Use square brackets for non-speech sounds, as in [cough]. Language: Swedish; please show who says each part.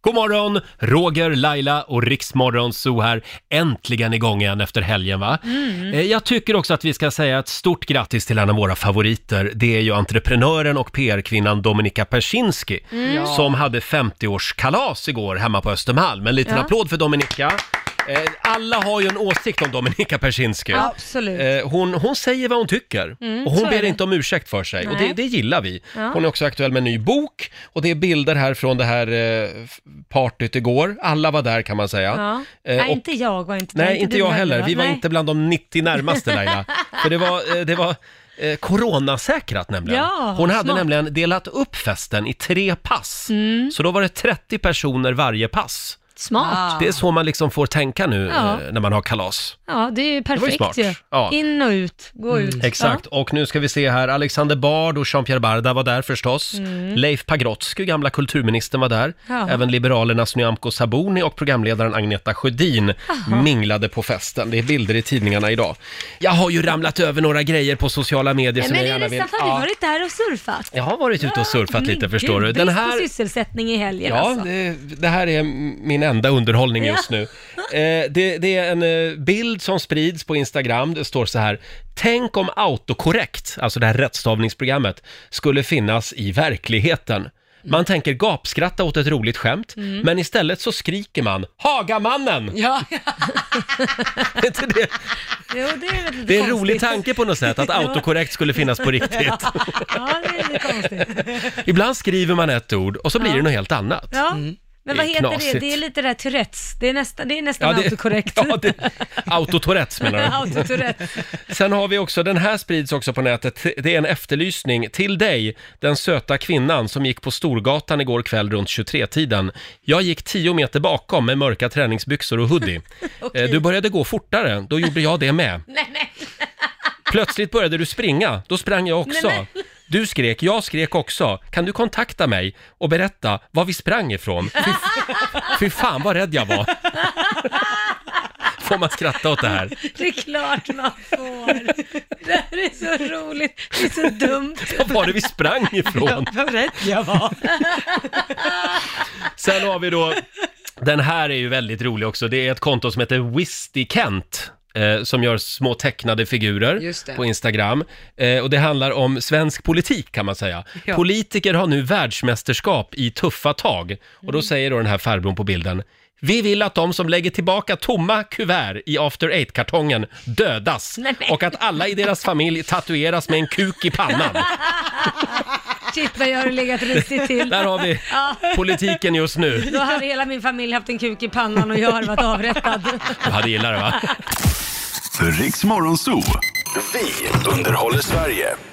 Speaker 1: God morgon, Roger, Laila och Riksmorgon Zoo här. Äntligen igång igen efter helgen va?
Speaker 2: Mm.
Speaker 1: Eh, Jag tycker också att vi ska säga ett stort grattis till en av våra favoriter. Det är ju entreprenören och PR-kvinnan Dominika Persinski
Speaker 2: Mm.
Speaker 1: som hade 50-årskalas igår hemma på Östermalm. En liten
Speaker 2: Ja.
Speaker 1: applåd för Dominika. Eh, Alla har ju en åsikt om Dominika Persinski.
Speaker 2: Absolut.
Speaker 1: Eh, Hon, hon säger vad hon tycker
Speaker 2: Mm,
Speaker 1: och hon
Speaker 2: så är
Speaker 1: ber
Speaker 2: det.
Speaker 1: inte om ursäkt för sig och
Speaker 2: Nej.
Speaker 1: det, det gillar vi.
Speaker 2: Ja.
Speaker 1: Hon är också aktuell med en ny bok och det är bilder här från det här eh, f- partyt igår. Alla var där kan man säga.
Speaker 3: Ja.
Speaker 1: Eh,
Speaker 3: nej,
Speaker 1: och-
Speaker 3: inte jag var inte där,
Speaker 1: Nej, inte
Speaker 3: du
Speaker 1: jag heller.
Speaker 3: va?
Speaker 1: Vi var
Speaker 3: Nej.
Speaker 1: inte bland de 90 närmaste
Speaker 3: [laughs]
Speaker 1: Laila. För det var, eh, det var eh, coronasäkrat nämligen.
Speaker 3: Ja,
Speaker 1: Hon hade
Speaker 3: smart. Mm.
Speaker 1: nämligen delat upp festen i tre pass. Så då var det 30 personer varje pass.
Speaker 3: Smart.
Speaker 1: Det är så man liksom får tänka nu
Speaker 3: Ah. Ja.
Speaker 1: eh, när man har kalas.
Speaker 3: Ja, det är ju
Speaker 1: var ju
Speaker 3: perfekt
Speaker 1: smart.
Speaker 3: ju.
Speaker 1: Ja. Mm.
Speaker 3: In och ut, gå ut.
Speaker 1: Exakt, och nu ska vi se här, Alexander Bard och Jean-Pierre Barda var där förstås.
Speaker 3: Mm.
Speaker 1: Leif Pagrotsky, gamla kulturministern, var där.
Speaker 3: Ja.
Speaker 1: Även Liberalernas Nyamko Sabuni och programledaren Agneta Sjödin
Speaker 3: Jaha.
Speaker 1: minglade på festen. Det är bilder i tidningarna idag. Jag har ju ramlat över några grejer på sociala medier
Speaker 3: Ja.
Speaker 1: som jag
Speaker 3: Men är
Speaker 1: gärna
Speaker 3: det
Speaker 1: vill...
Speaker 3: sant? Har du varit där och surfat?
Speaker 1: Jag har varit ute och surfat lite,
Speaker 3: Men
Speaker 1: förstår
Speaker 3: gud,
Speaker 1: du. Den
Speaker 3: brist på
Speaker 1: här...
Speaker 3: sysselsättning i helgen
Speaker 1: Ja,
Speaker 3: alltså.
Speaker 1: det, det här är m- min enda underhållning just
Speaker 3: Ja.
Speaker 1: nu. Eh, det, det är en eh, bild som sprids på Instagram. Det står så här. Tänk om autokorrekt, alltså det här rättstavningsprogrammet, skulle finnas i verkligheten.
Speaker 3: Mm.
Speaker 1: Man tänker gapskratta åt ett roligt skämt,
Speaker 2: Mm.
Speaker 1: men istället så skriker man Hagamannen!
Speaker 2: Ja.
Speaker 1: Är inte [laughs] det?
Speaker 3: Jo, det är väl lite
Speaker 1: Det är en
Speaker 3: konstigt.
Speaker 1: rolig tanke på något sätt, att
Speaker 3: Ja.
Speaker 1: autokorrekt skulle finnas på riktigt.
Speaker 3: [laughs] Ja, ja det är lite
Speaker 1: [laughs]
Speaker 3: konstigt.
Speaker 1: Ibland skriver man ett ord och så blir
Speaker 3: Ja.
Speaker 1: det något helt annat.
Speaker 3: Ja.
Speaker 1: Mm. Det är
Speaker 3: Men vad heter
Speaker 1: knasigt.
Speaker 3: det? Det är lite där Tourettes. Det är nästan, det är nästan
Speaker 1: Ja, det-
Speaker 3: autokorrekt.
Speaker 1: [laughs] Ja, det, autotourettes menar du?
Speaker 3: [laughs] Autotourettes.
Speaker 1: Sen har vi också, den här sprids också på nätet, det är en efterlysning till dig, den söta kvinnan som gick på Storgatan igår kväll runt 23-tiden. Jag gick 10 meter bakom med mörka träningsbyxor och hoodie.
Speaker 3: [laughs] Okej.
Speaker 1: Eh, Du började gå fortare, då gjorde jag det med.
Speaker 3: Nej, nej.
Speaker 1: Plötsligt började du springa, då sprang jag också.
Speaker 3: Nej, men-
Speaker 1: Du skrek, jag skrek också. Kan du kontakta mig och berätta var vi sprang ifrån? Fy, fy fan vad rädd jag var. Får man skratta åt det här?
Speaker 3: Det är klart man får. Det här är så roligt. Det är så dumt.
Speaker 1: Vad var det vi sprang ifrån?
Speaker 3: [laughs] Vad rädd jag var.
Speaker 1: Sen har vi då, den här är ju väldigt rolig också. Det är ett konto som heter Wisty Kent. Eh, som gör små tecknade figurer
Speaker 2: Just det.
Speaker 1: på Instagram. Eh, och det handlar om svensk politik kan man säga.
Speaker 2: Ja.
Speaker 1: Politiker har nu världsmästerskap i tuffa tag. Och
Speaker 2: Mm.
Speaker 1: då säger då den här farbrorn på bilden vi vill att de som lägger tillbaka tomma kuvert i After Eight-kartongen dödas och att alla i deras familj tatueras med en kuk
Speaker 2: [laughs]
Speaker 1: i pannan.
Speaker 3: Shit vad jag har legat risigt till.
Speaker 1: Där har vi
Speaker 3: Ja.
Speaker 1: politiken just nu.
Speaker 3: Då hade hela min familj haft en kuk i pannan och jag hade varit avrättad.
Speaker 1: Du hade gillat det va?
Speaker 4: Riks Morgonzoo. Vi underhåller Sverige.